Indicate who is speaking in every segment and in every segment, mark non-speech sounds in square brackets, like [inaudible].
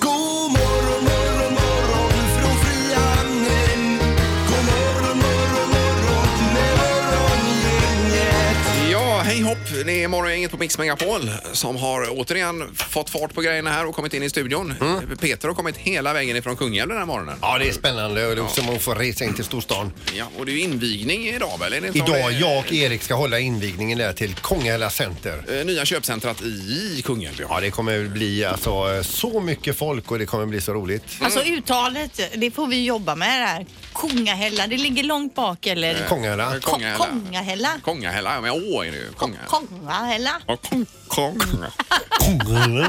Speaker 1: God morgon, morgon, morgon från Frihamnen. God morgon, morgon, morgon med morgongänget.
Speaker 2: Ja, hej hopp! Det är Morgongänget på Mix Megapol som har återigen fått fart på grejerna här och kommit in i studion. Peter har kommit hela vägen ifrån Kungälv den här morgonen.
Speaker 3: Mm. Ja, det är spännande och det är som att få resa in till storstan.
Speaker 2: Ja, och det är ju invigning idag väl? Är det inte så?
Speaker 3: Idag, jag och Erik ska hålla invigningen där till Kongahälla Center.
Speaker 2: Eh, Nya köpcentrat i Kungälv.
Speaker 3: Ja, det kommer bli alltså så mycket folk och det kommer bli så roligt.
Speaker 4: Alltså uttalet, det får vi jobba med det här. Kongahälla, det ligger långt bak eller?
Speaker 3: Kongahälla.
Speaker 2: Ko- Kongahälla. Kongahälla, Eh,
Speaker 4: Kongahälla.
Speaker 2: ja men åh är det ju. Konga.
Speaker 4: Kongahälla.
Speaker 2: Ja, Kong-
Speaker 3: Mm.
Speaker 2: Kong.
Speaker 3: Kongahälla.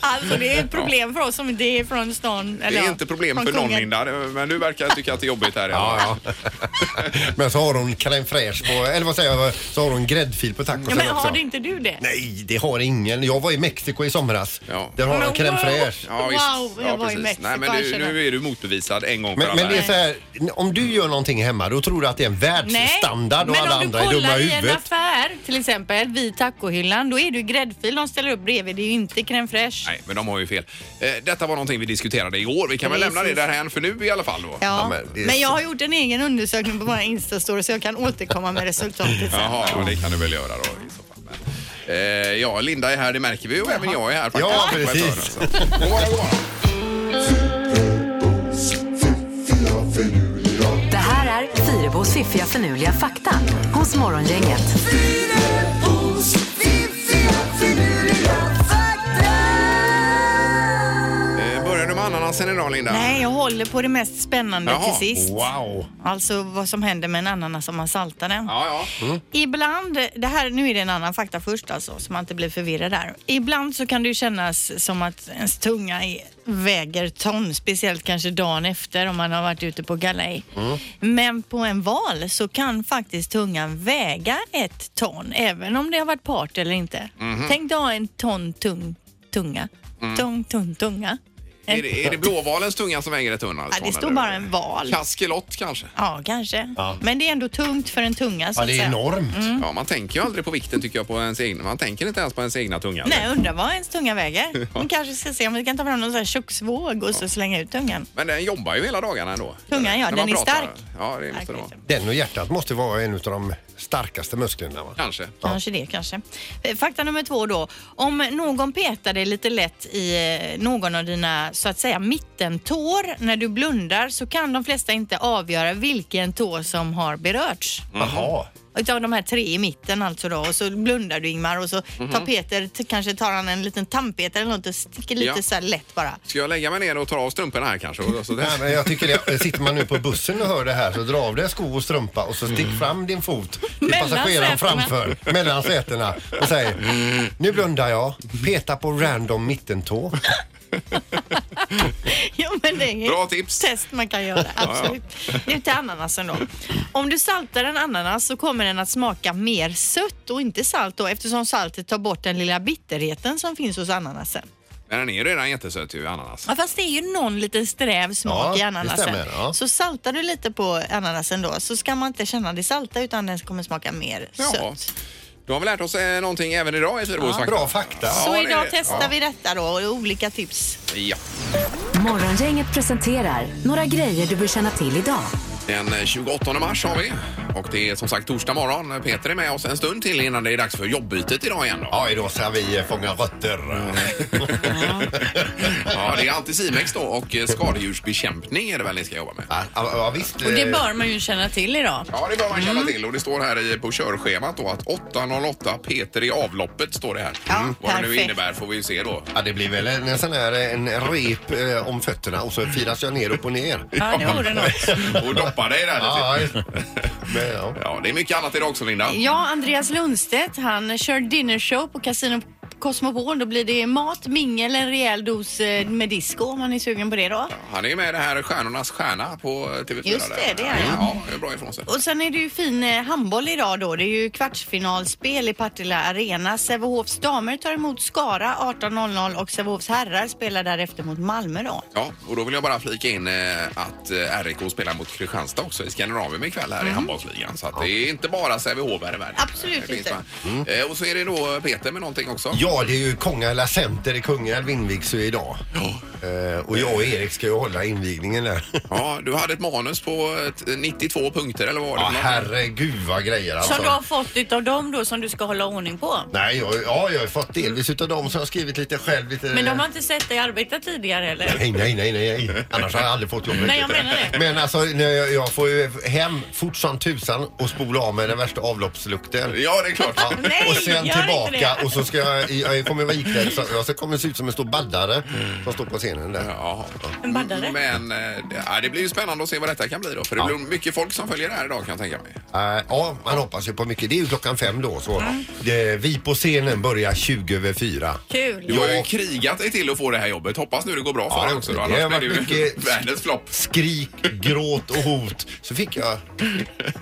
Speaker 4: Alltså det är ett problem för oss som inte är från stan.
Speaker 2: Det är inte problem för någon Linda, men du verkar tycka att det är jobbigt här.
Speaker 3: Ja, ja. Men så har hon crème fraîche på, eller vad säger jag, så har hon gräddfil på
Speaker 4: Ja,
Speaker 3: tacosen
Speaker 4: men
Speaker 3: också.
Speaker 4: har det inte du det?
Speaker 3: Nej, det har ingen. Jag var i Mexiko i somras.
Speaker 2: Ja.
Speaker 3: Där har de
Speaker 4: Men
Speaker 3: crème
Speaker 4: wow.
Speaker 3: fraîche.
Speaker 2: Ja, visst.
Speaker 4: Wow, jag var i
Speaker 2: precis.
Speaker 4: Mexiko,
Speaker 2: Nej, men du,
Speaker 4: jag känner-
Speaker 2: nu är du motbevisad en gång för
Speaker 3: Men,
Speaker 2: alla.
Speaker 3: men det är så här, om du gör någonting hemma då tror du att det är en världsstandard och
Speaker 4: men
Speaker 3: alla
Speaker 4: om
Speaker 3: andra
Speaker 4: du
Speaker 3: är dumma
Speaker 4: kollar
Speaker 3: i
Speaker 4: i en
Speaker 3: huvudet.
Speaker 4: affär, till exempel vid tacohyllan, då är det ju gräddfil de ställer upp bredvid. Det är ju inte crème fraîche.
Speaker 2: Nej, men de har ju fel. Eh, Detta var någonting vi diskuterade igår. Vi kan väl
Speaker 4: Precis.
Speaker 2: lämna det därhän för nu i alla fall då.
Speaker 4: Ja,
Speaker 3: Ja, men
Speaker 4: men,
Speaker 3: det är
Speaker 4: jag har gjort en egen undersökning på våra Insta-story så jag kan återkomma med resultatet sen.
Speaker 2: Jaha, ja, det kan du väl göra då i så fall. Men, eh, ja, Linda är här, det märker vi och även jag är här faktiskt.
Speaker 3: Ja,
Speaker 2: På ett
Speaker 3: precis.
Speaker 2: hörn, alltså. God morgon, god morgon.
Speaker 5: Det här är Fyrabos fiffiga förnuliga fakta hos Morgongänget.
Speaker 1: Fyrabos fiffiga finurliga fakta.
Speaker 2: Eh, Börjar du med ananasen idag Linda?
Speaker 4: Nej, jag håller på det mest spännande
Speaker 2: Jaha.
Speaker 4: till sist.
Speaker 3: Wow!
Speaker 4: Alltså vad som händer med en ananas om man saltar den.
Speaker 2: Ja, Mm. ja.
Speaker 4: Ibland, det här, nu är det en annan fakta först alltså, så man inte blir förvirrad där. Ibland så kan det ju kännas som att ens tunga är, väger ton, speciellt kanske dagen efter om man har varit ute på galej.
Speaker 2: Mm.
Speaker 4: Men på en val så kan faktiskt tungan väga ett ton, även om det har varit part eller inte.
Speaker 2: Mhm.
Speaker 4: Tänk dig ha en ton tung tunga. Tung, tung, tunga.
Speaker 2: Mm. Är, det, är det blåvalens tunga som väger ett tunn alltså?
Speaker 4: Ja, det står bara en val.
Speaker 2: Kaskelott kanske?
Speaker 4: Ja, kanske.
Speaker 3: Ja.
Speaker 4: Men det är ändå tungt för en tunga så
Speaker 3: Ja,
Speaker 4: att
Speaker 3: det är
Speaker 4: säga.
Speaker 3: enormt.
Speaker 4: Mm.
Speaker 2: Ja, man tänker ju aldrig på vikten tycker jag på ens egna. Man tänker inte ens på ens egna tunga.
Speaker 4: Nej, undrar vad ens tunga väger. Man kanske ska se om vi kan ta fram någon sån här köksvåg och så slänga ut tungan.
Speaker 2: Men den jobbar ju hela dagarna ändå.
Speaker 4: Tungan, ja,
Speaker 2: När man
Speaker 4: den är
Speaker 2: pratar.
Speaker 4: stark. liksom.
Speaker 2: Ja, det måste den vara.
Speaker 3: Den och hjärtat måste vara en av de starkaste musklerna. Va?
Speaker 2: Kanske.
Speaker 4: Kanske det, kanske. Eh, Fakta nummer två då. Om någon petar dig lite lätt i eh, någon av dina, så att säga, mittentår när du blundar så kan de flesta inte avgöra vilken tå som har berörts.
Speaker 3: Jaha.
Speaker 4: Utav de här tre i mitten alltså då och så blundar du Ingmar och så tar Peter, t- kanske tar han en liten tandpetare eller något och sticker lite
Speaker 2: Ja.
Speaker 4: så här lätt bara.
Speaker 2: Ska jag lägga mig ner och ta av strumporna här kanske? Och Så
Speaker 3: Nej,
Speaker 2: där.
Speaker 3: men jag tycker det, sitter man nu på bussen och hör det här så dra av dig sko och strumpa och så stick fram din fot till
Speaker 4: Mm. Mellan
Speaker 3: passageraren
Speaker 4: sätena.
Speaker 3: framför, mellan sätena och säg nu blundar jag, peta på random mittentå.
Speaker 4: [laughs] Jo, men det är
Speaker 2: Bra
Speaker 4: ett
Speaker 2: tips.
Speaker 4: test man kan
Speaker 2: [laughs]
Speaker 4: göra. Absolut. Nu till ananasen då. Om du saltar en ananas så kommer den att smaka mer sött och inte salt då eftersom saltet tar bort den lilla bitterheten som finns hos ananasen.
Speaker 2: Men den är ju redan jättesöt ju, ananas.
Speaker 4: Ja, fast det är ju någon liten sträv smak
Speaker 3: Ja,
Speaker 4: i
Speaker 3: det
Speaker 4: ananasen.
Speaker 3: stämmer, ja.
Speaker 4: Så saltar du lite på ananasen då så ska man inte känna det salta utan den kommer smaka mer
Speaker 2: Ja.
Speaker 4: sött.
Speaker 2: Då har vi lärt oss eh, någonting även idag i Fyrabos fakta.
Speaker 3: Bra fakta.
Speaker 4: Så
Speaker 2: Ja, det-
Speaker 4: idag testar
Speaker 2: ja.
Speaker 4: vi detta då och olika tips.
Speaker 2: Ja.
Speaker 5: Morgongänget presenterar några grejer du bör känna till idag.
Speaker 2: Den eh, 28 mars har vi. Och det är som sagt torsdag morgon. Peter är med oss en stund till innan det är dags för jobbytet idag igen. Då.
Speaker 3: Ja, idag ska vi eh, fånga rötter.
Speaker 2: Ja, det är antisimex då och eh, skadedjursbekämpning är det väl ni ska jobba med.
Speaker 3: Ja, ja, ja, visst.
Speaker 4: Och det
Speaker 3: eh,
Speaker 4: bör man ju känna till idag.
Speaker 2: Ja, det bör man känna till och det står här i, på körschemat då att 808 Peter i avloppet står det här. Mm.
Speaker 4: Ja,
Speaker 2: Vad det nu
Speaker 4: perfekt.
Speaker 2: innebär får vi ju se då.
Speaker 3: Ja, det blir väl en, en sån här eh, en rep eh, om fötterna och så firas jag ner upp och ner.
Speaker 4: Ja, det vore något.
Speaker 2: [laughs] Och doppa dig där
Speaker 3: Ah, Ja,
Speaker 2: lite.
Speaker 3: [laughs] men, ja.
Speaker 2: Ja, det är mycket annat idag också Linda.
Speaker 4: Ja, Andreas Lundstedt han kör dinnershow på Casino Cosmopol. Då blir det mat, mingel, en rejäl dos eh, med disco om man är sugen på det då.
Speaker 2: Han är med i det här Stjärnornas stjärna på TV4.
Speaker 4: Just det,
Speaker 2: där.
Speaker 4: det är han.
Speaker 2: Ja, det är bra ifrån sig.
Speaker 4: Och sen är det ju fin eh, handboll idag då. Det är ju kvartsfinalspel i Partille Arena. Sävehofs damer tar emot Skara 18.00 och Sävehofs herrar spelar därefter mot Malmö då.
Speaker 2: Ja, och då vill jag bara flika in eh, att eh, RIK spelar mot Kristianstad också i Skandinavien ikväll här i handbollsligan. Så att det är inte bara Sävehof här i världen.
Speaker 4: Mm. Absolut
Speaker 2: Det finns
Speaker 4: inte.
Speaker 2: va- Eh, Och så är det då Peter med någonting också.
Speaker 3: Ja, det är ju Kongälva Center i Kungälv invigs ju idag. Eh, och jag och Erik ska ju hålla invigningen där.
Speaker 2: Ja, du hade ett manus på eh, 92 punkter eller vad var det?
Speaker 3: Ja,
Speaker 2: för något?
Speaker 3: herregud vad grejer alltså.
Speaker 6: Som du har fått utav dem då som du ska hålla ordning på.
Speaker 3: Nej, jag, ja, jag har fått delvis utav dem som har skrivit lite själv. Lite...
Speaker 6: Men de har inte sett dig arbeta tidigare eller?
Speaker 3: Nej, nej, nej, nej, nej. Annars har jag aldrig fått jobbet.
Speaker 6: Nej, jag menar det.
Speaker 3: Men alltså, när jag, jag får ju hem fort som tusan och spola av mig den värsta avloppslukten.
Speaker 2: Ja, det är klart.
Speaker 3: Ja.
Speaker 6: [laughs] Nej,
Speaker 3: och sen
Speaker 6: gör
Speaker 3: tillbaka
Speaker 6: inte det.
Speaker 3: och så ska jag, jag kommer vara iklädd så jag så kommer jag se ut som en stor baddare som står på scenen där.
Speaker 2: Ja.
Speaker 6: En baddare.
Speaker 2: Men eh, det, ja, det blir ju spännande att se vad detta kan bli då. För det blir mycket folk som följer det här idag kan jag tänka mig.
Speaker 3: Eh, ja, man hoppas ju på mycket. Det är ju klockan fem då så. Det, vi på scenen börjar 20 över fyra.
Speaker 6: Kul.
Speaker 2: Du har ju krigat dig till att få det här jobbet. Hoppas nu det går bra för
Speaker 3: Ja,
Speaker 2: dig också. Då.
Speaker 3: det
Speaker 2: Annars
Speaker 3: har
Speaker 2: blir det
Speaker 3: varit
Speaker 2: ju [laughs]
Speaker 3: mycket-
Speaker 2: världens flopp.
Speaker 3: Skrik, gråt och hot. Så fick jag...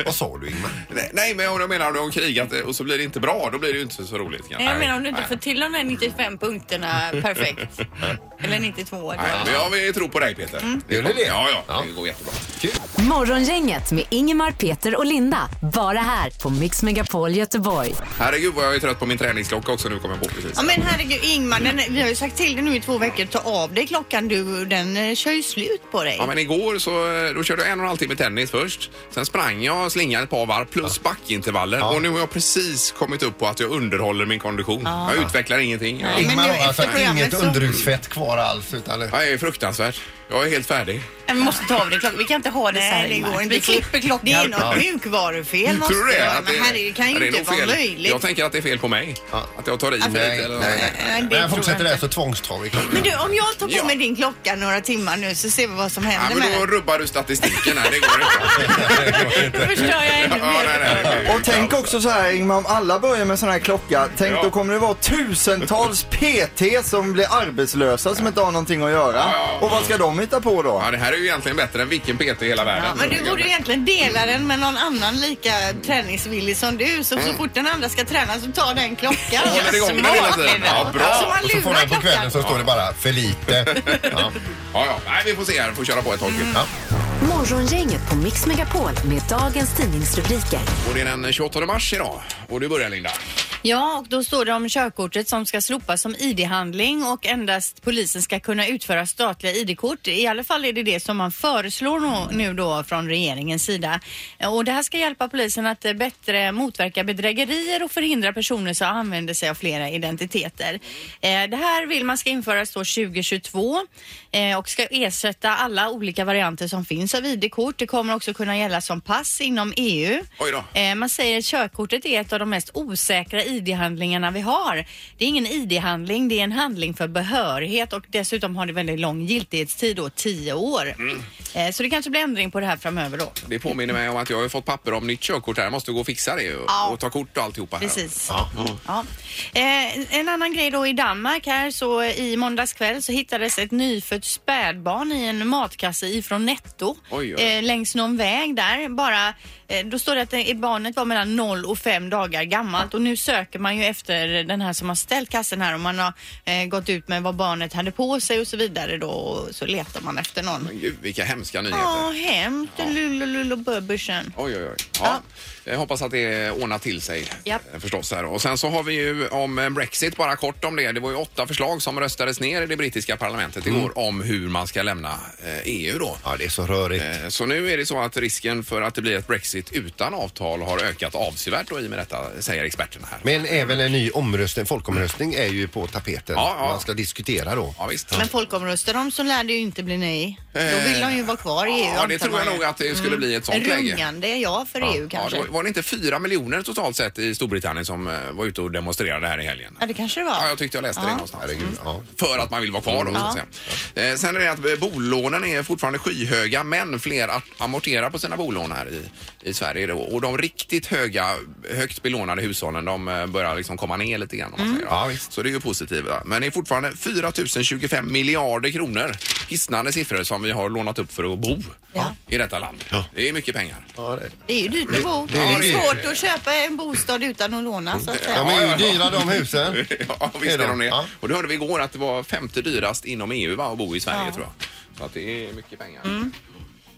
Speaker 3: Vad sa du Ingmar?
Speaker 2: Nej, Nej, men jag menar om du har krigat eh, och så blir det inte bra, då blir det ju inte så roligt. kanske.
Speaker 6: Nej, jag menar om du inte
Speaker 2: Nej.
Speaker 6: får till de här 95
Speaker 2: [laughs]
Speaker 6: punkterna perfekt. Eller 92.
Speaker 2: Nej, men jag vill tro på dig Peter.
Speaker 3: Mm. Gör ni det?
Speaker 2: Ja, ja,
Speaker 3: Ja.
Speaker 2: det går jättebra.
Speaker 5: Morgongänget med Ingemar, Peter och Linda. Bara här på Mix Megapol Göteborg.
Speaker 2: Herregud vad jag är trött på min träningsklocka också nu kommer jag på precis.
Speaker 4: Ja men herregud Ingmar, den, vi har ju sagt till dig nu i två veckor, ta av dig klockan du, den eh, kör ju slut på dig.
Speaker 2: Ja, men igår så eh, då körde jag en och en halv timme tennis först. Sen sprang jag och slingade ett par varv plus backintervaller. Och nu har jag precis kommit upp på att jag underhåller min kondition. Jag utvecklar ingenting. Jag-
Speaker 3: Ingmar
Speaker 4: nu
Speaker 3: har alltså
Speaker 4: efter programmet
Speaker 3: inget
Speaker 4: så-
Speaker 3: underhudsfett kvar alls utan...
Speaker 2: Jag är fruktansvärt. Jag är helt färdig.
Speaker 6: Vi måste ta av dig klockan. Vi kan inte ha det så här.
Speaker 4: Nej, det
Speaker 6: Ingmar.
Speaker 4: går inte.
Speaker 6: Vi klipper klockan.
Speaker 4: Det är något mjukvarufel måste
Speaker 2: Tror du
Speaker 4: det
Speaker 2: det?
Speaker 4: vara.
Speaker 2: Att
Speaker 4: Men herregud, det kan
Speaker 2: Ja,
Speaker 4: ju
Speaker 2: det är
Speaker 4: inte
Speaker 2: nog
Speaker 4: vara
Speaker 2: fel.
Speaker 4: möjligt.
Speaker 2: Jag tänker att det är fel på mig. Att jag tar i mig
Speaker 3: Nej,
Speaker 2: lite eller
Speaker 3: nej, nej.
Speaker 4: Nej, det
Speaker 3: Men
Speaker 4: tror
Speaker 3: jag fortsätter
Speaker 4: jag
Speaker 3: det här
Speaker 4: inte.
Speaker 3: så tvångstar vi klockan.
Speaker 4: Men du, om jag tar på
Speaker 2: Ja.
Speaker 4: mig din klocka några timmar nu så ser vi vad som
Speaker 2: Ja,
Speaker 4: händer
Speaker 2: men
Speaker 4: med
Speaker 2: då
Speaker 4: den.
Speaker 2: rubbar du statistiken här. Det går inte.
Speaker 4: [laughs]
Speaker 6: Då förstör jag ännu
Speaker 2: Ja, nej,
Speaker 6: mer.
Speaker 2: nej, det blir-
Speaker 7: Och tänk också så här Ingmar, om alla börjar med sån här klocka, tänk
Speaker 2: Ja.
Speaker 7: då kommer det vara tusentals PT som blir arbetslösa som inte har någonting att göra. Och vad ska de hitta på då?
Speaker 2: Ja, det här är ju egentligen bättre än vilken PT i hela världen.
Speaker 4: Ja, men du borde ju egentligen dela den med någon annan lika träningsvillig som du. Så, så fort den andra ska träna så tar den klockan.
Speaker 2: Håller igång den hela tiden. Ja,
Speaker 4: Så
Speaker 2: bra.
Speaker 4: man
Speaker 3: Och så får
Speaker 4: lurar
Speaker 3: den på
Speaker 4: klockan.
Speaker 3: kvällen så står det bara för lite. Ja.
Speaker 2: Ja, ja. Nej, vi får se här. Får köra på ett tag till.
Speaker 4: Mm.
Speaker 3: Ja.
Speaker 5: Morgongänget på Mix Megapol med dagens tidningsrubriker.
Speaker 2: Och det är den 28 mars idag. Och du börjar Linda.
Speaker 4: Ja, och då står det om körkortet som ska slopas som ID-handling och endast polisen ska kunna utföra statliga ID-kort. I alla fall är det det som man föreslår nå- nu då från regeringens sida. Eh, Och det här ska hjälpa polisen att eh, bättre motverka bedrägerier och förhindra personer som använder sig av flera identiteter. Eh, Det här vill man ska införas då 2022 eh, och ska ersätta alla olika varianter som finns av ID-kort. Det kommer också kunna gälla som pass inom EU.
Speaker 2: Oj då.
Speaker 4: Eh, Man säger att körkortet är ett av de mest osäkra ID-handlingarna vi har. Det är ingen ID-handling, det är en handling för behörighet och dessutom har det väldigt lång giltighetstid då, 10 år. Eh, Så det kanske blir ändring på det här framöver då.
Speaker 2: Det påminner mig om att jag har ju fått papper om nytt körkort här. Jag måste gå och fixa det och,
Speaker 4: Ja.
Speaker 2: och ta kort och alltihopa. Här.
Speaker 4: Precis. Ja. Eh, en annan grej då i Danmark här så i måndags kväll så hittades ett nyfött spädbarn i en matkasse ifrån Netto
Speaker 2: Oj, oj.
Speaker 4: Eh, längs någon väg där. Bara, eh, då står det att det, barnet var mellan 0 och 5 dagar gammalt och nu söker man ju efter den här som har ställt kassen här och man har eh, gått ut med vad barnet hade på sig och så vidare då och så letar man efter någon.
Speaker 2: Men Gud, vilka hemska nyheter.
Speaker 4: Ja, hämt lululul och böbbersen.
Speaker 2: Oj, oj, oj. Ja. Jag hoppas att det ordnar till sig
Speaker 4: Japp.
Speaker 2: eh, förstås. Här. Och sen så har vi ju om eh, Brexit, bara kort om det. Det var ju åtta förslag som röstades ner i det brittiska parlamentet igår om hur man ska lämna eh, EU då.
Speaker 3: ja, det är så rörigt.
Speaker 2: Eh, Så nu är det så att risken för att det blir ett Brexit utan avtal har ökat avsevärt då i och med detta, säger experterna här.
Speaker 3: Men även en ny omröstning, folkomröstning är ju på tapeten.
Speaker 2: Ja, ja.
Speaker 3: Man ska diskutera då.
Speaker 2: Ja, visst.
Speaker 4: Men folkomröstar de så lär det ju inte bli nej. Då vill de ju vara kvar i EU.
Speaker 2: Ja, det
Speaker 4: antar
Speaker 2: tror jag
Speaker 4: man ju.
Speaker 2: nog att det skulle bli ett sånt läge.
Speaker 4: Rungande ja för EU
Speaker 2: Ja,
Speaker 4: kanske.
Speaker 2: det var- var det inte fyra miljoner totalt sett i Storbritannien som eh, var ute och demonstrerade här i helgen?
Speaker 4: Ja, det kanske det var.
Speaker 2: Ja, jag tyckte jag läste det
Speaker 4: Ja. Mm.
Speaker 2: någonstans. För att man vill vara kvar då, så att
Speaker 4: Ja.
Speaker 2: säga. Eh, Sen är det att eh, bolånen är fortfarande skyhöga, men fler att amortera på sina bolån här i, i Sverige då. Och de riktigt höga, högt belånade hushållen, de eh, börjar liksom komma ner lite grann om
Speaker 4: Mm.
Speaker 2: man säger. Ja, så det är ju positivt. va. Men det är fortfarande 4 025 miljarder kronor. Hisnande siffror som vi har lånat upp för att bo
Speaker 4: Ja.
Speaker 2: i detta land. Det är mycket pengar.
Speaker 4: Det är ju dyrt att bo.
Speaker 2: Det- det är
Speaker 4: Det är
Speaker 2: dyrt.
Speaker 4: svårt att köpa en bostad utan att låna så att säga.
Speaker 2: Ja, ja, ja.
Speaker 8: husen.
Speaker 2: [laughs] ja, visst
Speaker 8: Är
Speaker 2: är
Speaker 8: de?
Speaker 2: de det.
Speaker 8: Ja.
Speaker 2: Och det hörde vi igår att det var femte dyrast inom EU va, att bo i Sverige tror jag. Så att det är mycket pengar.
Speaker 4: Mm.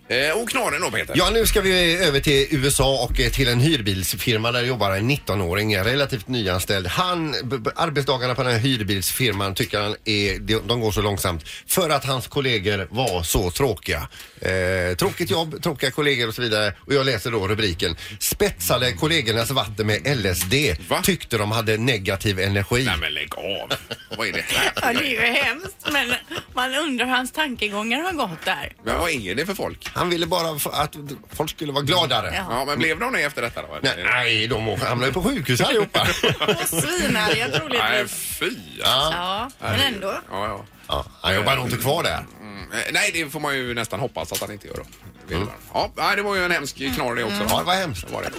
Speaker 2: Eh, och knorren då Peter?
Speaker 8: Ja, nu ska vi över till USA och eh, till en hyrbilsfirma där jobbar en 19-åring, en relativt nyanställd. Han, b- b- arbetsdagarna på den här hyrbilsfirman tycker han är, de- de går så långsamt för att hans kollegor var så tråkiga. Eh, tråkigt jobb, tråkiga kollegor och så vidare. Och jag läser då rubriken. Spetsade kollegornas vatten med LSD. Tyckte de hade negativ energi. Nej
Speaker 2: men lägg av. Vad är det
Speaker 4: [laughs] Ja, det är ju hemskt. Men man undrar hur hans tankegångar har gått där.
Speaker 2: Men vad är det för folk?
Speaker 8: Han ville bara f- att folk skulle vara gladare.
Speaker 4: Ja.
Speaker 2: Ja, men blev de det efter detta då?
Speaker 8: Nej, nej de hamnade ju på sjukhus allihopa.
Speaker 4: Svinarga troligtvis.
Speaker 2: Nej, fy! alltså.
Speaker 4: Ja, men ändå.
Speaker 2: Ja, ja.
Speaker 8: Ja, han jobbar nog inte kvar där.
Speaker 2: Mm, eh, nej, det får man ju nästan hoppas att han inte gör då. Vederbörande. Ja, nej, det var ju en hemsk knorr det också.
Speaker 8: Mm. Ja, det var hemskt.
Speaker 2: Var det.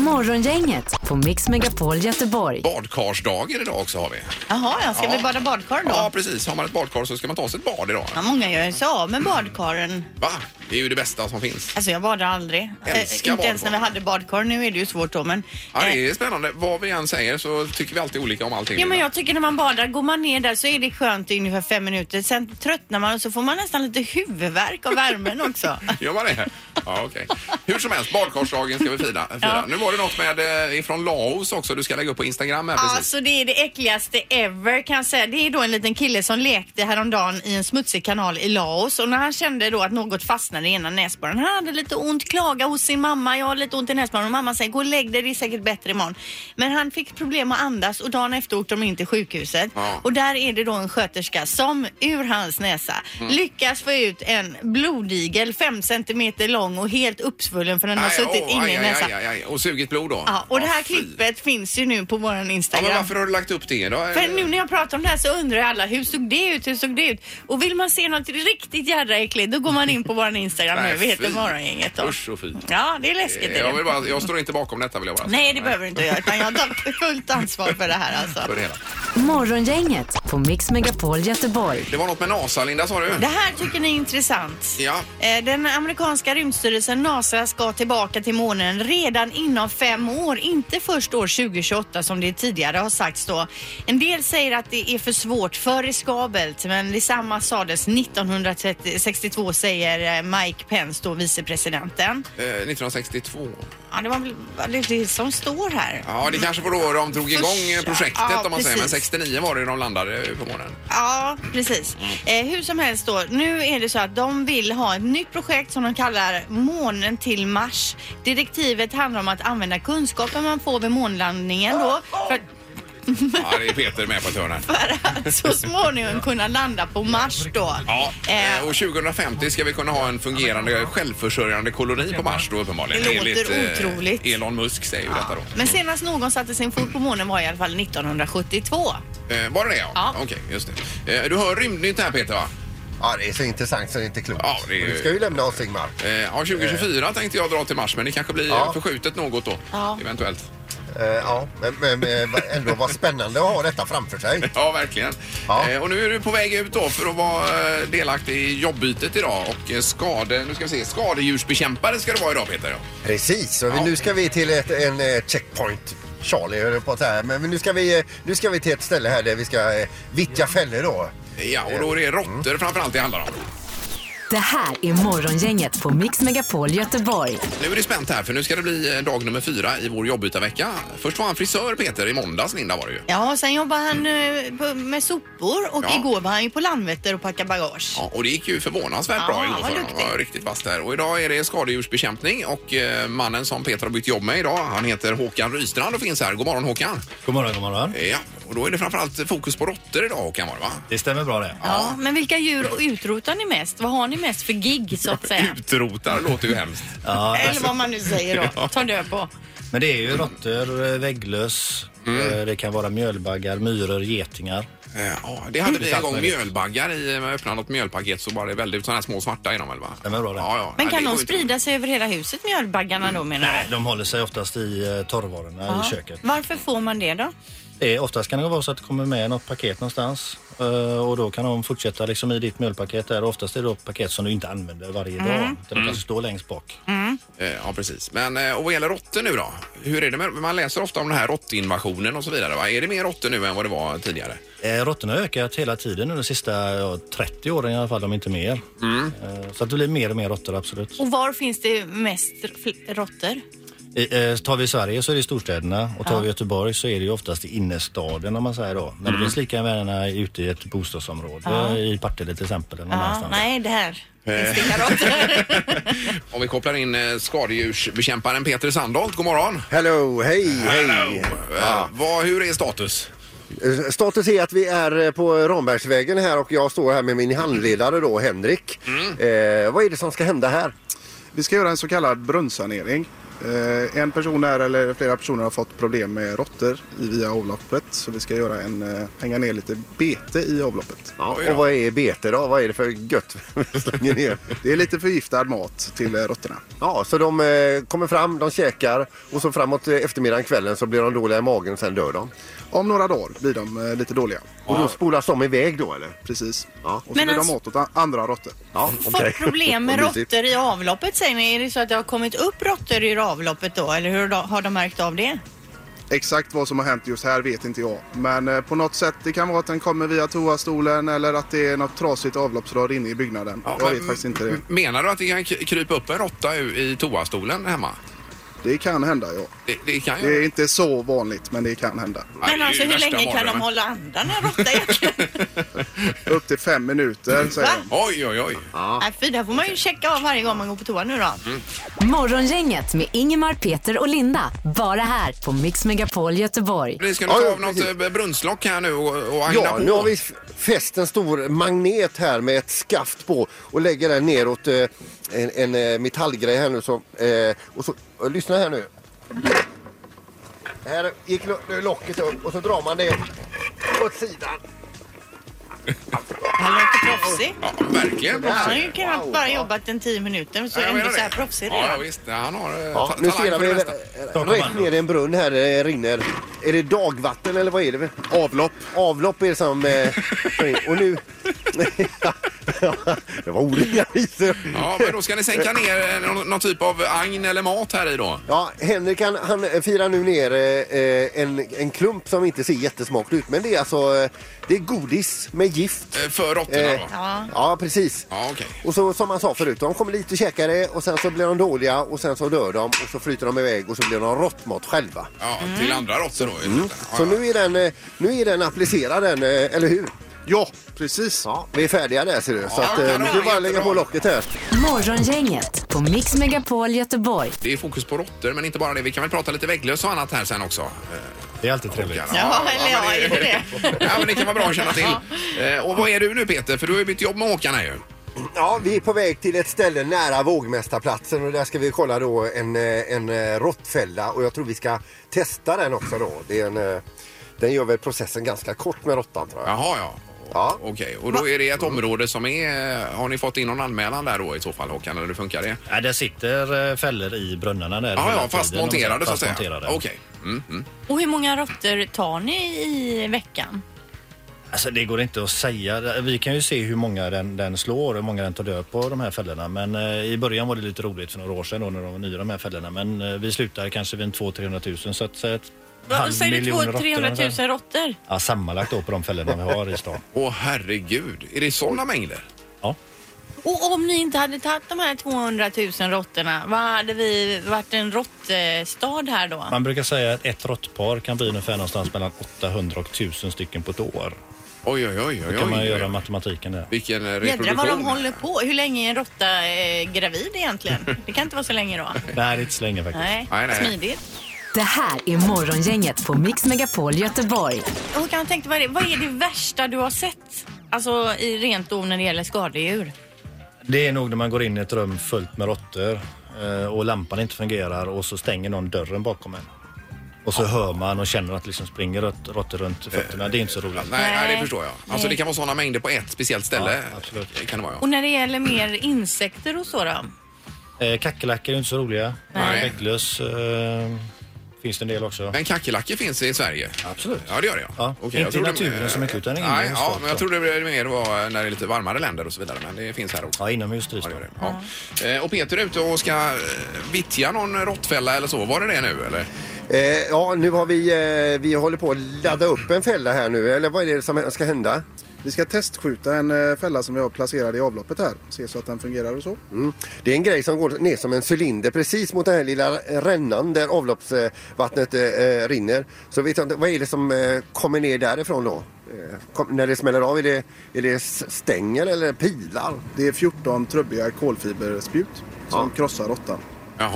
Speaker 5: Morgongänget på Mix Megapol Göteborg.
Speaker 2: Badkarsdagen idag också har vi.
Speaker 4: Jaha, ja, ska
Speaker 2: Ja.
Speaker 4: vi bada badkar då?
Speaker 2: Ja, precis. Har man ett badkar så ska man ta sig ett bad idag.
Speaker 4: Ja, många gör ju så av med badkaren.
Speaker 2: Va? Det är ju det bästa som finns.
Speaker 4: Alltså jag badar aldrig. Eh,
Speaker 2: Älskar
Speaker 4: inte ens när
Speaker 2: badkar.
Speaker 4: vi hade badkar. Nu är det ju svårt då men. eh,
Speaker 2: Ja, det är spännande. Vad vi än säger så tycker vi alltid olika om allting.
Speaker 4: Ja, men jag tycker när man badar, går man ner där så är det skönt i ungefär fem minuter. Sen tröttnar man och så får man nästan lite huvudvärk av värmen också.
Speaker 2: Gör man det? Ja, okej. Hur som helst, badkarsdagen ska vi fira. fira.
Speaker 4: Ja.
Speaker 2: Nu var det något med eh, ifrån Laos också. Du ska lägga upp på Instagram här precis.
Speaker 4: Alltså det är det äckligaste ever kan jag säga. Det är då en liten kille som lekte häromdagen i en smutsig kanal i Laos och när han kände då att något fastnade i ena näsborren. Han hade lite ont, klaga hos sin mamma. Jag har lite ont i näsborren och mamma säger gå och lägg dig, det är säkert bättre imorgon. Men han fick problem att andas och dagen efter åkte de in till sjukhuset.
Speaker 1: Ja.
Speaker 4: Och där är det då en sköterska som ur hans näsa
Speaker 1: Mm.
Speaker 4: lyckas få ut en blodigel fem centimeter lång och helt uppsvullen för den har
Speaker 2: Aj,
Speaker 4: suttit
Speaker 2: åh,
Speaker 4: inne
Speaker 2: aj,
Speaker 4: i
Speaker 2: aj,
Speaker 4: näsan.
Speaker 2: aj, aj. Och sugit blod då?
Speaker 4: Ja, och det här klippet finns ju nu på våran
Speaker 2: Ja,
Speaker 4: Instagram.
Speaker 2: men varför har du lagt upp det då?
Speaker 4: För nu när jag pratar om det här så undrar ju alla hur såg det ut, hur såg det ut? Och vill man se något riktigt jädra äckligt då går man in på våran Instagram nu. Vi heter
Speaker 2: fy.
Speaker 4: Morgongänget då.
Speaker 2: Usch och fy.
Speaker 4: Ja, det är läskigt. är
Speaker 2: Jag,
Speaker 4: det.
Speaker 2: vill bara, jag står inte bakom detta vill jag bara säga.
Speaker 4: Nej, det behöver du inte göra utan jag tar fullt ansvar för det här alltså.
Speaker 2: För det, hela.
Speaker 5: Morgongänget på Mix Megapol Göteborg.
Speaker 2: det var något med NASA, Linda sa du?
Speaker 4: Det här tycker ni är intressant.
Speaker 2: Ja.
Speaker 4: Eh, Den amerikanska rymdstyrelsen NASA ska tillbaka till månen redan inom fem år. Inte först år 2028 som det tidigare har sagts då. En del säger att det är för svårt, för riskabelt. Men detsamma sades 1962 säger eh, Mike Pence, då vicepresidenten.
Speaker 2: Eh, 1962.
Speaker 4: Ja, det var väl var det det som står här.
Speaker 2: Ja, det kanske var då de drog igång eh, projektet
Speaker 4: Ja,
Speaker 2: om man säger. Men
Speaker 4: precis.
Speaker 2: 69 var det de landade på månen.
Speaker 4: Ja, precis.
Speaker 2: Mm.
Speaker 4: Eh, hur som helst då, nu är det så att de vill ha ett nytt projekt som de kallar Månen till Mars. Direktivet handlar om att använda kunskapen man får vid månlandningen då för att
Speaker 2: Ja, det är Peter med på ett hörn här.
Speaker 4: så småningom kunna landa på Mars då.
Speaker 2: Ja, eh, och 2050 ska vi kunna ha en fungerande självförsörjande koloni på Mars då uppenbarligen.
Speaker 4: Det låter otroligt.
Speaker 2: eh, Elon Musk säger ju detta då.
Speaker 4: Men senast någon satte sin fot på månen var i alla fall 1972.
Speaker 2: Eh, var det det ja?
Speaker 4: Ja.
Speaker 2: Okej, just det. Eh, du hör rymdnytt här Peter va?
Speaker 8: Ja, det är så intressant så det är inte klokt.
Speaker 2: Ja, det är
Speaker 8: Du
Speaker 2: ju...
Speaker 8: ska ju lämna oss Ingmar.
Speaker 2: eh, ja, 2024 tänkte jag dra till Mars men det kanske blir
Speaker 8: Ja.
Speaker 2: förskjutet något då.
Speaker 4: Ja.
Speaker 2: Eventuellt.
Speaker 8: Eh, ja, men, men, men vad- ändå vad spännande att ha detta framför
Speaker 2: [laughs]
Speaker 8: sig.
Speaker 2: Ja, verkligen. Eh, och nu är du på väg ut då för att vara eh, delaktig i jobbytet idag och eh, skade, nu ska vi se, skadedjursbekämpare ska du vara idag Peter. Ja.
Speaker 8: Precis, och vi, nu ska vi till ett, en eh, checkpoint. Charlie höll på att säga, men men nu ska, vi, eh, nu ska vi till ett ställe här där vi ska eh, vittja fällor då.
Speaker 2: Ja, och då är det råttor framförallt det handlar om.
Speaker 5: Det här är Morgongänget på Mix Megapol Göteborg.
Speaker 2: Nu är det spänt här för nu ska det bli eh, dag nummer fyra i vår jobbytarvecka. Först var han frisör Peter i måndags Linda var det ju.
Speaker 4: Ja, sen jobbar han eh, på- med sopor och
Speaker 2: Ja.
Speaker 4: igår var han ju på Landvetter och packade bagage.
Speaker 2: Ja, och det gick ju förvånansvärt bra
Speaker 4: Ja,
Speaker 2: igår
Speaker 4: vad
Speaker 2: för honom.
Speaker 4: duktig.
Speaker 2: var riktigt vass där. Och idag är det skadedjursbekämpning och eh, mannen som Peter har bytt jobb med idag han heter Håkan Rystrand och finns här. God morgon Håkan!
Speaker 9: God morgon, god morgon.
Speaker 2: Ja, Och då är det framförallt fokus på råttor idag Håkan var det va?
Speaker 9: Det stämmer bra det.
Speaker 4: Ja, men vilka djur utrotar ni mest? Vad har ni mest för gig så att säga?
Speaker 2: Utrotar låter ju hemskt.
Speaker 9: Ja,
Speaker 4: Eller vad man
Speaker 2: [laughs]
Speaker 4: nu säger då.
Speaker 9: Ja.
Speaker 4: Ta död på.
Speaker 9: Men det är ju råttor, eh, vägglöss, eh, det kan vara mjölbaggar, myror, getingar.
Speaker 2: Eh, Ja, det hade vi en gång mjölbaggar i. Jag öppnade något mjölpaket så var det väldigt sådana här små svarta inom väl va? Stämmer bra det. Ja, ja.
Speaker 4: Men
Speaker 2: Nej,
Speaker 4: kan
Speaker 2: det
Speaker 4: de
Speaker 2: går inte.
Speaker 4: sprida sig över hela huset mjölbaggarna då menar
Speaker 9: Nej, de håller sig oftast i eh, torrvarorna
Speaker 4: Ja.
Speaker 9: i köket.
Speaker 4: Varför får man det då?
Speaker 9: Eh, Oftast kan det vara så att det kommer med något paket någonstans eh, och då kan de fortsätta liksom i ditt mjölpaket där. Oftast är det då paket som du inte använder varje
Speaker 2: Mm.
Speaker 9: dag. Utan de
Speaker 2: Mm.
Speaker 9: kanske står längst bak.
Speaker 2: Eh, Ja, precis. Men eh, och vad gäller råttor nu då? Hur är det med, man läser ofta om den här råttinvasionen och så vidare va? Är det mer råttor nu än vad det var tidigare?
Speaker 9: Eh, Råttorna har ökat hela tiden under de sista ja, 30 åren i alla fall, om inte mer. Eh, Så att det blir mer och mer råttor, absolut.
Speaker 4: Och var finns det mest fl- råttor?
Speaker 9: I, eh, tar vi Sverige så är det i storstäderna och tar
Speaker 4: Ja. Mm.
Speaker 9: vi Göteborg så är det ju oftast i innerstaden om man säger då. Men det finns lika gärna ute i ett bostadsområde,
Speaker 4: Ja.
Speaker 9: i Partille till exempel. Eller någon
Speaker 4: Ja,
Speaker 9: annanstans.
Speaker 4: nej, det här.
Speaker 2: Eh. [laughs] Om vi kopplar in eh, skadedjursbekämparen Peter Sandholt, god morgon.
Speaker 3: Hello, hej, hej.
Speaker 2: Eh, Vad, hur är status?
Speaker 3: Eh, Status är att vi är eh, på Rambergsvägen här och jag står här med min handledare då, Henrik. Eh, vad är det som ska hända här?
Speaker 7: Mm. Vi ska göra en så kallad brunnsanering. Eh, En person här, eller flera personer har fått problem med råttor i- via avloppet. Så vi ska göra en, eh, hänga ner lite bete i avloppet.
Speaker 3: Ja, och vad är bete då? Vad är det för gött slänger ner?
Speaker 7: Det är lite förgiftad mat till eh, råttorna.
Speaker 3: Ja, så de eh, kommer fram, de käkar och så framåt eh, eftermiddagen, kvällen så blir de dåliga i magen och sen dör de.
Speaker 7: Om några dagar blir de eh, lite dåliga.
Speaker 3: Och då spolas de iväg då eller?
Speaker 7: Precis.
Speaker 3: Ja.
Speaker 7: Och så
Speaker 4: Men
Speaker 7: blir
Speaker 4: alltså-
Speaker 7: de åt åt a- andra råttor.
Speaker 3: Ja,
Speaker 4: Fått problem med råttor i avloppet säger ni. Är det så att det har kommit upp råttor ur avloppet då? Eller hur då- har de märkt av det?
Speaker 7: Exakt vad som har hänt just här vet inte jag. Men eh, på något sätt, det kan vara att den kommer via toastolen eller att det är något trasigt avloppsrör inne i byggnaden. jag vet faktiskt inte det.
Speaker 2: Menar du att det kan k- krypa upp en råtta u- i toastolen hemma?
Speaker 7: Det kan hända, ja.
Speaker 2: Det, det kan ju.
Speaker 7: Det är inte så vanligt, men det kan hända.
Speaker 4: Men alltså hur länge kan de hålla andan en råtta?
Speaker 2: [laughs]
Speaker 7: Upp till fem minuter, säger
Speaker 4: Va?
Speaker 7: de.
Speaker 2: Oj, oj, oj.
Speaker 4: Nej, fy, där får man ju checka av varje gång man går på toa nu då.
Speaker 2: Mm.
Speaker 5: Morgongänget med Ingemar, Peter och Linda. Bara här på Mix Megapol Göteborg.
Speaker 2: Ni ska nu ta av något eh, brunnslock här nu och, och agna
Speaker 3: Ja,
Speaker 2: på.
Speaker 3: nu har vi f- fäst en stor magnet här med ett skaft på och lägger den neråt eh, en, en eh, metallgrej här nu. Som, eh, och så, och lyssna här nu. Här gick lo- nu locket upp och så drar man det åt sidan.
Speaker 4: Han låter proffsig.
Speaker 2: Ja, verkligen.
Speaker 4: Han har ju kunnat bara jobbat en tio minuter och så
Speaker 2: Ja, jag
Speaker 4: är ändå
Speaker 2: menar
Speaker 4: så här
Speaker 2: det.
Speaker 4: proffsig
Speaker 2: Ja, ja,
Speaker 4: redan.
Speaker 2: visst. Han har eh,
Speaker 3: Ja,
Speaker 2: ta-
Speaker 3: nu
Speaker 2: talang
Speaker 3: stirrar
Speaker 2: för
Speaker 3: vi
Speaker 2: det
Speaker 3: eh,
Speaker 2: mesta.
Speaker 3: rätt ner i en brunn här där det rinner. Är det dagvatten eller vad är det? Avlopp. Avlopp är det som... Eh, och nu... [laughs] det var olika visor.
Speaker 2: Ja, men då ska ni sänka ner eh, någon, någon typ av agn eller mat här i då.
Speaker 3: Ja, Henrik han, han firar nu ner eh, en, en klump som inte ser jättesmaklig ut. Men det är alltså eh, det är godis med gift.
Speaker 2: För råttorna
Speaker 3: Eh,
Speaker 2: då?
Speaker 3: ja. precis.
Speaker 2: Ja, okej.
Speaker 3: Och så som man sa förut, de kommer dit och käkar det och sen så blir de dåliga och sen så dör de och så flyter de iväg och så blir de råttmat själva.
Speaker 2: Ja, till andra råttor då. Mm.
Speaker 3: Så nu är den, eh, nu är den applicerad den, eh, eller hur? Ja, precis. Ja, vi är färdiga där ser du. så att, eh, nu är det bara att lägga på locket här.
Speaker 5: Morgongänget på Mix Megapol Göteborg.
Speaker 2: Det är fokus på råttor, men inte bara det. Vi kan väl prata lite vägglöss och annat här sen också.
Speaker 9: Det är alltid trevligt.
Speaker 2: Ja,
Speaker 4: eller ja, är det det?
Speaker 2: Ja, men det kan vara bra att känna till. Eh, Och vad är du nu Peter? För du har ju bytt jobb med Håkan här ju.
Speaker 3: Ja, vi är på väg till ett ställe nära Vågmästarplatsen och där ska vi kolla då en, eh, en eh, råttfälla och jag tror vi ska testa den också då. Det är en, eh, den gör väl processen ganska kort med råttan tror jag.
Speaker 2: Jaha, ja. ja. Okej, och då är det ett område som är... eh, Har ni fått in någon anmälan där då i så fall Håkan, eller hur funkar det?
Speaker 9: Ja, det sitter eh, fällor i brunnarna där.
Speaker 2: Ja,
Speaker 9: hela
Speaker 2: ja,
Speaker 9: tiden.
Speaker 2: fastmonterade så att säga.
Speaker 9: Fastmonterade.
Speaker 2: Okej. Mm, mm.
Speaker 4: Och hur många råttor tar ni i veckan?
Speaker 9: Alltså det går inte att säga. Vi kan ju se hur många den, den slår och hur många den tar död på de här fällorna. Men eh, i början var det lite roligt för några år sedan då, när de var nya de här fällorna. Men eh, vi slutade kanske vid en 200-300 000 så att säga ett
Speaker 4: Vad
Speaker 9: halv
Speaker 4: säger du?
Speaker 9: miljon
Speaker 4: 200
Speaker 9: råttor
Speaker 4: 300 000
Speaker 9: ungefär.
Speaker 4: råttor?
Speaker 9: Ja, sammanlagt då på de fällorna vi har i stan.
Speaker 2: Åh herregud, är det sådana mängder?
Speaker 9: Ja.
Speaker 4: Och om ni inte hade tagit de här 200 000 råttorna, vad hade vi varit en råttstad här då?
Speaker 9: Man brukar säga att ett råttpar kan bli ungefär någonstans mellan 800 och 1000 stycken på ett år.
Speaker 2: Oj, oj, oj.
Speaker 9: Då kan man göra matematiken där.
Speaker 2: Vilken
Speaker 4: Jädrar vad de håller på. Hur länge är en
Speaker 9: [laughs]
Speaker 4: råtta eh, gravid egentligen? Det kan inte vara så länge då.
Speaker 9: Nej, det är inte så länge faktiskt.
Speaker 4: Nej, smidigt.
Speaker 5: Det här är Morgongänget på Mix Megapol Göteborg.
Speaker 4: Håkan, jag tänkte, vad är, det, vad är det värsta du har sett? Alltså i rent då när det gäller skadedjur.
Speaker 9: Det är nog när man går in i ett rum fullt med råttor eh, och lampan inte fungerar och så stänger någon dörren bakom en. Och så hör man och känner att det liksom springer rott- råttor runt
Speaker 2: Eh,
Speaker 9: fötterna. Det är inte så roligt.
Speaker 2: Nej, nej, det förstår jag. Alltså
Speaker 4: Nej.
Speaker 2: det kan vara sådana mängder på ett speciellt ställe. Det kan det vara ja.
Speaker 4: Och när det gäller mer insekter och så då?
Speaker 9: Eh, Kackerlackor är inte så roliga.
Speaker 2: Nej.
Speaker 9: Vägglöss eh, finns det en del också.
Speaker 2: Men kackerlackor finns i Sverige? Absolut. Ja, det gör det ja. Okej, jag
Speaker 9: inte i
Speaker 2: trodde-
Speaker 9: naturen så mycket utan
Speaker 2: Nej,
Speaker 9: inomhus.
Speaker 2: ja,
Speaker 9: då.
Speaker 2: men jag trodde det var mer var när det är lite varmare länder och så vidare. Men det finns här också.
Speaker 9: Ja, inomhus trivs
Speaker 2: ja, det. gör det. Ja. Eh, Och Peter är ute och ska eh, vittja någon råttfälla eller så. Var det det nu eller?
Speaker 3: Eh, ja, nu har vi, eh, vi håller på att ladda upp en fälla här nu. Eller vad är det som ska hända?
Speaker 7: Vi ska testskjuta en eh, fälla som vi har placerad i avloppet här. Se så att den fungerar och så.
Speaker 3: Mm. Det är en grej som går ner som en cylinder precis mot den här lilla rännan där avloppsvattnet eh, eh, rinner. Så vet jag inte, vad är det som eh, kommer ner därifrån då? Eh, kom, när det smäller av, är det, är det s- stänger eller pilar?
Speaker 7: Det är 14 trubbiga kolfiberspjut som krossar råttan.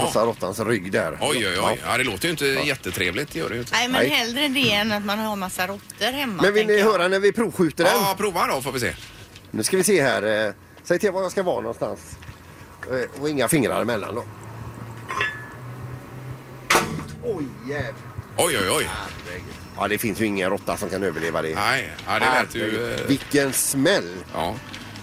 Speaker 3: Krossar råttans rygg där.
Speaker 2: Oj, oj, oj. Ja, det låter ju inte jättetrevligt. Det gör det ju inte.
Speaker 4: Nej, men hellre det än att man har massa råttor hemma.
Speaker 3: Men vill
Speaker 4: tänker
Speaker 3: ni
Speaker 4: jag.
Speaker 3: höra när vi provskjuter den?
Speaker 2: Ja, prova då får vi se.
Speaker 3: Nu ska vi se här. eh, Säg till var jag ska vara någonstans. Eh, Och inga fingrar emellan då. Oj, jävlar.
Speaker 2: Oj, oj, oj.
Speaker 3: Ja, det finns ju ingen råtta som kan överleva det.
Speaker 2: Nej, ja, det lät ju... eh,
Speaker 3: Vilken smäll!
Speaker 2: Ja.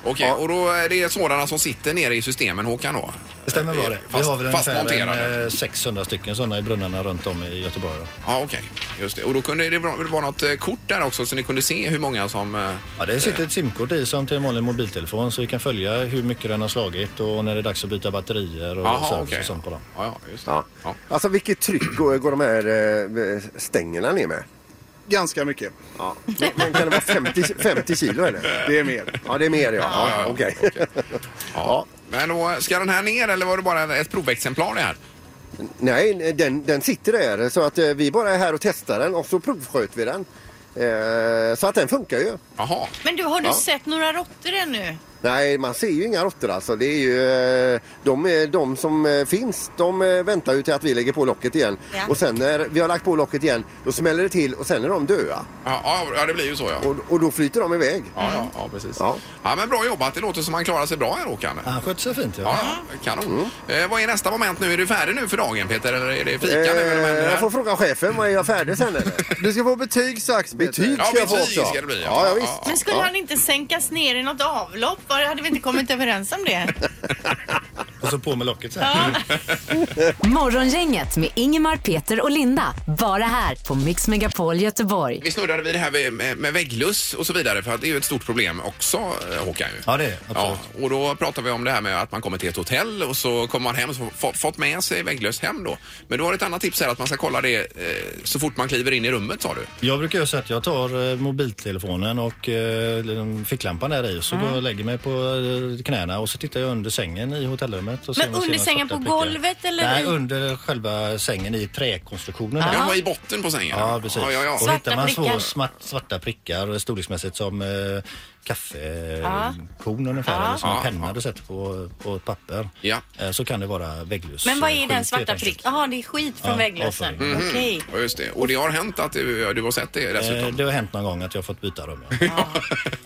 Speaker 2: Okej, och då är det sådana som sitter nere i systemen, Håkan då?
Speaker 9: Det stämmer bra det. Vi
Speaker 2: Fast-
Speaker 9: har väl ungefär
Speaker 2: fastmonterade.
Speaker 9: en, eh, 600 stycken sådana i brunnarna runt om i Göteborg. då.
Speaker 2: Ja, okej. Just det. Och då kunde det vara det var något eh, kort där också så ni kunde se hur många som... eh,
Speaker 9: Ja, det sitter ett simkort i som till en vanlig mobiltelefon så vi kan följa hur mycket den har slagit och när det är dags att byta batterier och
Speaker 2: Jaha,
Speaker 9: service
Speaker 2: okej.
Speaker 9: och sånt på dem.
Speaker 2: Ja, ja, just det.
Speaker 3: Ja. Alltså vilket tryck går, går de här eh, stängerna ner med?
Speaker 7: Ganska mycket.
Speaker 3: Ja. Men, men kan det vara 50, 50 kilo eller?
Speaker 7: Det är mer.
Speaker 3: Ja, det är mer ja. ja, Okej.
Speaker 2: Ja. Men då, ska den här ner eller var det bara ett provexemplar det här?
Speaker 3: [laughs] Nej, den, den sitter där så att eh, vi bara är här och testar den och så provsköt vi den. Eh, så att den funkar ju.
Speaker 2: Jaha.
Speaker 4: Men du, har du
Speaker 3: Ja.
Speaker 4: sett några råttor ännu?
Speaker 3: Nej, man ser ju inga råttor alltså. Det är ju, eh, de, är- de som eh, finns, de eh, väntar ju till att vi lägger på locket igen.
Speaker 4: Ja.
Speaker 3: Och sen när vi har lagt på locket igen, då smäller det till och sen är de döda.
Speaker 2: Ja, ja, ja, det blir ju så ja.
Speaker 3: Och, och då flyter de iväg.
Speaker 2: Ja, ja, ja precis.
Speaker 3: Ja.
Speaker 2: Ja, men bra jobbat. Det låter som han klarar sig bra här Håkan.
Speaker 9: Han skötte sig fint.
Speaker 2: Ja, ja, kanon. Eh, vad är nästa moment nu? Är du färdig nu för dagen Peter? Eller är det fika nu? Eller vad händer
Speaker 3: Eh, jag
Speaker 2: här?
Speaker 3: får fråga chefen, vad är jag färdig sen eller? Du ska få betyg strax Betyg ska
Speaker 2: Ja,
Speaker 3: jag få
Speaker 2: betyg
Speaker 3: också.
Speaker 2: ska det bli, ja.
Speaker 3: Ja, ja visst.
Speaker 4: Men skulle han inte sänkas ner i något avlopp? Var- Hade vi inte kommit överens om
Speaker 9: [laughs]
Speaker 4: det?
Speaker 9: Och så på med locket sen.
Speaker 5: Morgongänget med Ingemar, Peter och Linda. Bara här på Mix Megapol Göteborg.
Speaker 2: Vi snurrade vid det här med- med, med vägglöss och så vidare för att det är ju ett stort problem också eh, Håkan. ju.
Speaker 9: Ja, det är det.
Speaker 2: Ja,
Speaker 9: Absolut.
Speaker 2: och då pratar vi om det här med att man kommer till ett hotell och så kommer man hem och så få- fått med sig vägglöss hem då. Men du har ett annat tips här att man ska kolla det eh, så fort man kliver in i rummet sa du.
Speaker 9: Jag brukar göra så att jag tar eh, mobiltelefonen och eh, ficklampan där i och så
Speaker 4: Mm.
Speaker 9: går jag och lägger mig på eh, knäna och så tittar jag under sängen i hotellrummet. Och ser om
Speaker 4: Men
Speaker 9: jag ser
Speaker 4: under
Speaker 9: några
Speaker 4: sängen på
Speaker 9: svarta prickar.
Speaker 4: golvet eller?
Speaker 9: Nej,
Speaker 4: i-
Speaker 9: under själva sängen i träkonstruktionen. där.
Speaker 2: Ja, i botten på sängen.
Speaker 9: Ja, precis.
Speaker 2: Ja, ja, ja.
Speaker 9: Och
Speaker 2: Svarta
Speaker 9: hittar man
Speaker 2: prickar.
Speaker 9: så smart, svarta prickar storleksmässigt som eh,
Speaker 4: Ja.
Speaker 9: kaffekorn ungefär,
Speaker 4: Ja.
Speaker 9: eller som
Speaker 4: Ja,
Speaker 9: en penna du sätter på, på ett papper, eh, så kan det vara vägglöss.
Speaker 4: Men vad
Speaker 9: eh,
Speaker 4: är den
Speaker 9: skit, helt
Speaker 4: svarta
Speaker 9: enkelt.
Speaker 4: pricken? Jaha, det är skit från
Speaker 9: Ja,
Speaker 4: vägglössen.
Speaker 9: avföring. Mhm.
Speaker 4: Okej.
Speaker 2: Ja, just det. Och det har hänt att du, du har sett det dessutom.
Speaker 9: Eh, det har hänt någon gång att jag har fått byta rum. Ja.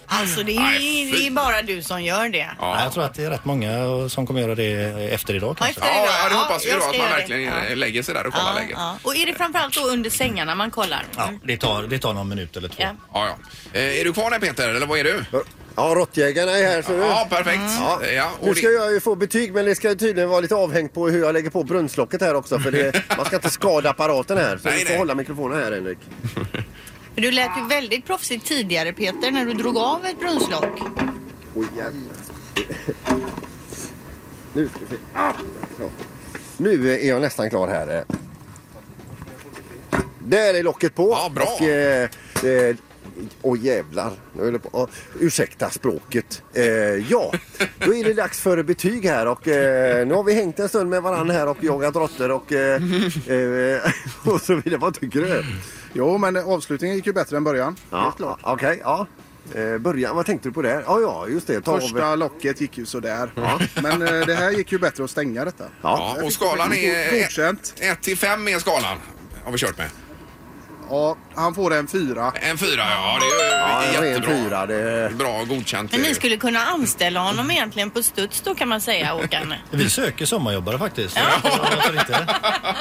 Speaker 4: Alltså det är, ju, det är bara du som gör det.
Speaker 9: Nej, Jag tror att det är rätt många som kommer göra det eh, efter idag kanske.
Speaker 4: efter idag.
Speaker 2: Ja, det hoppas vi
Speaker 4: jag
Speaker 2: då
Speaker 4: ska
Speaker 2: att man
Speaker 4: göra det.
Speaker 2: verkligen eh, lägger sig där och kollar
Speaker 4: Ja,
Speaker 2: läget.
Speaker 4: ja. Och är det framförallt då under sängarna man kollar? Mm.
Speaker 9: Ja, det tar, det tar någon minut eller två.
Speaker 4: Ja.
Speaker 2: Ja, ja. Eh, är du kvar där Peter eller vad är du?
Speaker 3: Ja, råttjägarna är här. Så
Speaker 2: Ja, perfekt. Ja, och
Speaker 3: nu
Speaker 2: det-
Speaker 3: ska jag ju få betyg men det ska ju tydligen vara lite avhängt på hur jag lägger på brunnslocket här också för det, man ska inte skada apparaten här. Så du får hålla mikrofonen här Henrik.
Speaker 4: För Du lät ju väldigt proffsig tidigare Peter när du drog av ett brunnslock.
Speaker 3: Oj jävlar. Nu ska vi se. Ah! Så. Nu är jag nästan klar här. Där är locket på. Ja, bra. Och, eh, eh, Åh jävlar, nu höll jag på. Oh, ursäkta språket. Eh, ja, då är det dags för betyg här och eh, nu har vi hängt en stund med varandra här och jagat råttor och, eh, eh, [laughs] och så vidare. Vad tycker du?
Speaker 7: Jo, men avslutningen gick ju bättre än början.
Speaker 3: Ja, Okej, ja. Eh, början, vad tänkte du på där? Ja, ja, just det. Ta av-
Speaker 7: Första locket gick ju sådär. [laughs] Men eh, det här gick ju bättre att stänga detta.
Speaker 2: Ja, och skalan är...
Speaker 7: Godkänt.
Speaker 2: 1 till 5 är skalan. har vi kört med.
Speaker 7: Ja, han får en fyra.
Speaker 2: En fyra, ja. Det är ju
Speaker 7: Ja, en ren
Speaker 2: jättebra. Bra, godkänt.
Speaker 4: Men ni skulle kunna anställa honom egentligen på studs då kan man säga,
Speaker 2: [laughs]
Speaker 4: Håkan.
Speaker 9: Vi söker sommarjobbare faktiskt.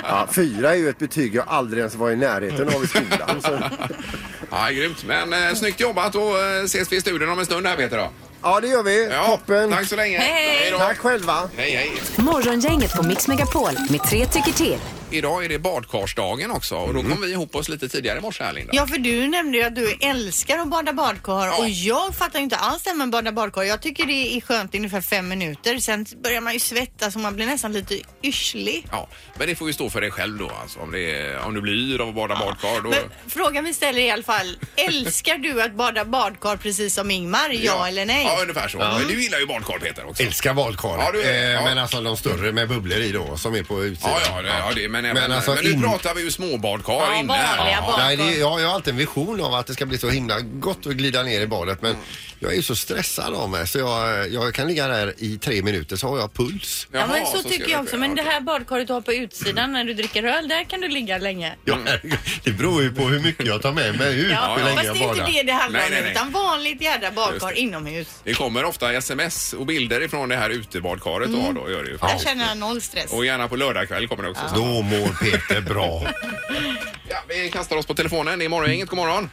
Speaker 3: Ja, fyra är ju ett betyg jag aldrig ens var i närheten av i skolan. Så.
Speaker 2: [laughs] Ja, grymt. Men eh, snyggt jobbat och eh, ses vi i studion om en stund här Peter då.
Speaker 3: Ja, det gör vi. Toppen.
Speaker 2: Tack så länge.
Speaker 3: Hej.
Speaker 2: då.
Speaker 3: Tack själva.
Speaker 2: Hej, hej.
Speaker 5: Morgongänget på Mix Megapol med tre tycker till.
Speaker 2: Idag är det badkarsdagen också och då kom vi ihop oss lite tidigare i morse här Linda.
Speaker 4: Ja, för du nämnde ju att du älskar att bada badkar och jag fattar ju inte alls det här med att bada badkar. Jag tycker det är skönt i ungefär fem minuter. Sen börjar man ju svettas och man blir nästan lite yrslig.
Speaker 2: Ja, men det får ju stå för dig själv då alltså. Om, det är, om du blir yr av att bada badkar då...
Speaker 4: Men frågan vi ställer i alla fall, älskar du att bada badkar precis som Ingmar? Ja, eller nej?
Speaker 2: Ja, ungefär så.
Speaker 8: Ja.
Speaker 2: Men Du gillar ju badkar Peter också.
Speaker 8: Älskar badkar.
Speaker 2: Ja, du gör det.
Speaker 8: Eh,
Speaker 2: Ja.
Speaker 8: Men alltså de större med bubblor i då som är på utsidan.
Speaker 2: Ja, ja, det, ja det, men, även, men,
Speaker 8: alltså
Speaker 2: nu
Speaker 8: in-
Speaker 2: pratar vi ju småbadkar
Speaker 8: Ja,
Speaker 2: inne här.
Speaker 8: Nej, det, jag, jag har alltid en vision av att det ska bli så himla gott att glida ner i badet men
Speaker 2: Mm.
Speaker 8: jag är ju så stressad av mig så jag, jag kan ligga där i tre minuter så har jag puls.
Speaker 4: ja, men så, tycker jag också. Men det här badkaret du har på utsidan när du dricker öl, där kan du ligga länge.
Speaker 8: Ja,
Speaker 2: Mm.
Speaker 8: [laughs] det beror ju på hur mycket jag tar med mig ut,
Speaker 4: Ja,
Speaker 8: hur länge
Speaker 4: fast
Speaker 8: jag
Speaker 4: det är inte
Speaker 8: badar.
Speaker 4: det det handlar
Speaker 2: Nej, nej,
Speaker 4: om
Speaker 2: nej.
Speaker 4: utan vanligt jädra badkar
Speaker 2: Just det.
Speaker 4: inomhus.
Speaker 2: Det kommer ofta sms och bilder ifrån det här utebadkaret
Speaker 4: Mm.
Speaker 2: då, då gör det ju.
Speaker 4: Där känner jag noll stress.
Speaker 2: Och gärna på lördagkväll kommer det också.
Speaker 4: Ja.
Speaker 8: Då mår Peter bra.
Speaker 2: ja, vi kastar oss på telefonen. Det är Morgongänget. God morgon.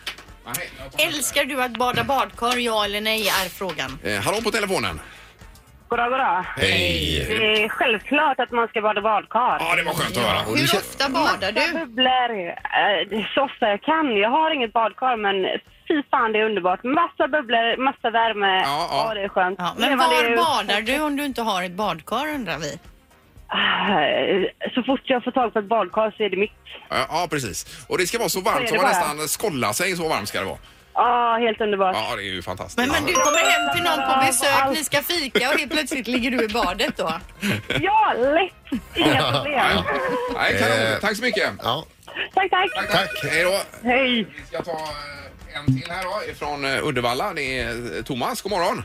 Speaker 4: Älskar du att bada badkar, ja eller nej, är frågan.
Speaker 2: Eh, hallå på telefonen.
Speaker 10: Goddag, goddag.
Speaker 2: Hej.
Speaker 10: Det är självklart att man ska bada badkar.
Speaker 2: Ja, det var skönt att höra.
Speaker 4: Hur ofta badar du?
Speaker 10: Bubblor, eh, det är så ofta jag kan. Jag har inget badkar, men fy fan det är underbart. Massa bubblor, massa värme. Ja,
Speaker 4: ja.
Speaker 10: det är skönt.
Speaker 4: Ja, men
Speaker 10: Leva
Speaker 4: var
Speaker 10: det ut.
Speaker 4: badar du om du inte har ett badkar undrar vi?
Speaker 10: Eh, Så fort jag får tag på ett badkar så är det mitt.
Speaker 2: Ja, ja, precis. Och det ska vara så
Speaker 10: Så är
Speaker 2: varmt
Speaker 10: det
Speaker 2: så
Speaker 10: bara.
Speaker 2: man nästan skollar sig. Så varmt ska det vara.
Speaker 10: Ja, helt underbart.
Speaker 2: Ja, det är ju fantastiskt.
Speaker 4: Men, men du kommer hem till någon på besök, ni ska fika och helt plötsligt ligger du i badet då?
Speaker 10: Ja, lätt! Inga problem.
Speaker 2: Nej,
Speaker 4: Eh,
Speaker 2: kanon. Tack så mycket.
Speaker 8: Ja.
Speaker 10: Tack, tack.
Speaker 8: Tack.
Speaker 2: Hej då.
Speaker 10: Hej.
Speaker 2: Vi ska ta eh, en till här då ifrån eh, Uddevalla. Det är eh, Thomas. God morgon.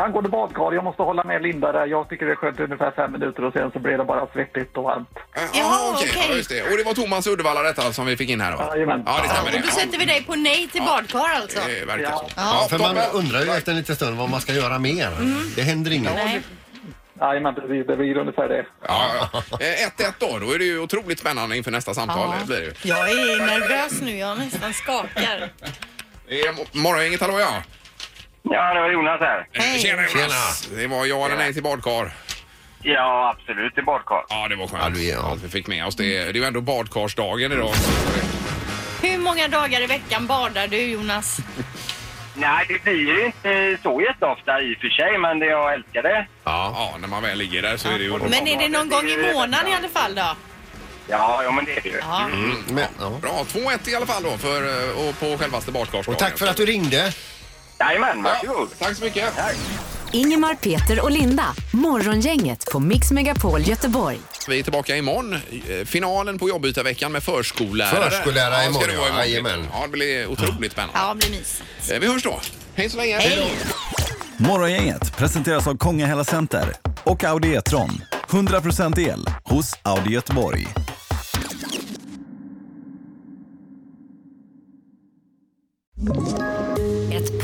Speaker 11: Angående badkar, jag måste hålla med Linda där. Jag tycker det är skönt i ungefär fem minuter och sen så blir det bara svettigt och varmt.
Speaker 2: Jaha, okej. Eh, Ja, just det. Och det var Thomas i Uddevalla detta som vi fick in här då?
Speaker 11: Jajamän.
Speaker 2: Ja, det stämmer
Speaker 4: Och då
Speaker 2: det.
Speaker 4: sätter vi dig på nej till badkar alltså?
Speaker 2: Det verkar så.
Speaker 8: Ja, för man undrar ju efter en liten stund vad man ska göra mer. Det händer inget.
Speaker 4: Nej.
Speaker 11: Jajamän, precis. Det blir ungefär det.
Speaker 2: Ja, ja. Eh, 1-1 då. Då är det ju otroligt spännande inför nästa samtal.
Speaker 4: Ja.
Speaker 2: Det blir det ju.
Speaker 4: Jag är nervös nu, jag nästan skakar.
Speaker 2: Det är mo- Morgongänget, hallå ja.
Speaker 12: Ja, det var Jonas här.
Speaker 2: Hej. Tjena Jonas. Det var ja eller nej till badkar.
Speaker 12: Ja, absolut i badkar.
Speaker 2: Ja, det var skönt att vi fick med oss det. Det är ju ändå badkarsdagen idag.
Speaker 4: Hur många dagar i veckan badar du Jonas?
Speaker 12: Nej, det blir ju inte så jätteofta i och för sig, men det jag älskar det.
Speaker 2: Ja. ja, när man väl ligger där så är det ju underbart.
Speaker 4: Men är det någon gång i månaden i alla fall då?
Speaker 12: Ja, ja men det är det ju.
Speaker 2: Mm. Bra, 2-1 i alla fall då för, eh, och på självaste badkarsdagen.
Speaker 8: Och tack för att du ringde.
Speaker 2: Jajamän, varsågod. Ja, tack så mycket.
Speaker 5: Ingemar, Peter och Linda. Morgongänget på Mix Megapol Göteborg.
Speaker 2: Vi är tillbaka imorgon. Eh, Finalen på jobbytarveckan med förskollärare.
Speaker 8: Förskollärare
Speaker 2: ja, ska
Speaker 8: imorgon,
Speaker 2: det vara
Speaker 8: ja. Jajamän.
Speaker 2: Ja, det blir otroligt spännande.
Speaker 4: Ja, det blir mysigt.
Speaker 2: Eh, Vi hörs då. Hej så länge.
Speaker 13: Morgongänget presenteras av Kongahälla Center och Audi E-tron. 100% el hos Audi Göteborg.
Speaker 14: Ett